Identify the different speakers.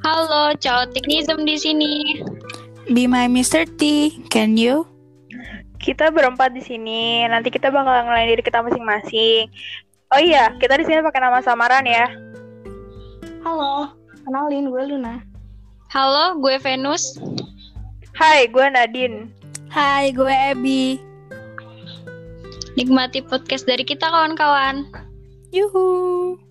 Speaker 1: Halo, Chaoticnism di sini.
Speaker 2: Be my Mr. T, can you?
Speaker 3: Kita berempat di sini. Nanti kita bakal ngelain diri kita masing-masing. Oh iya, kita di sini pakai nama samaran ya.
Speaker 4: Halo, kenalin gue Luna.
Speaker 1: Halo, gue Venus.
Speaker 3: Hai, gue Nadine.
Speaker 2: Hai, gue Abby.
Speaker 1: Nikmati podcast dari kita kawan-kawan.
Speaker 2: Yuhu.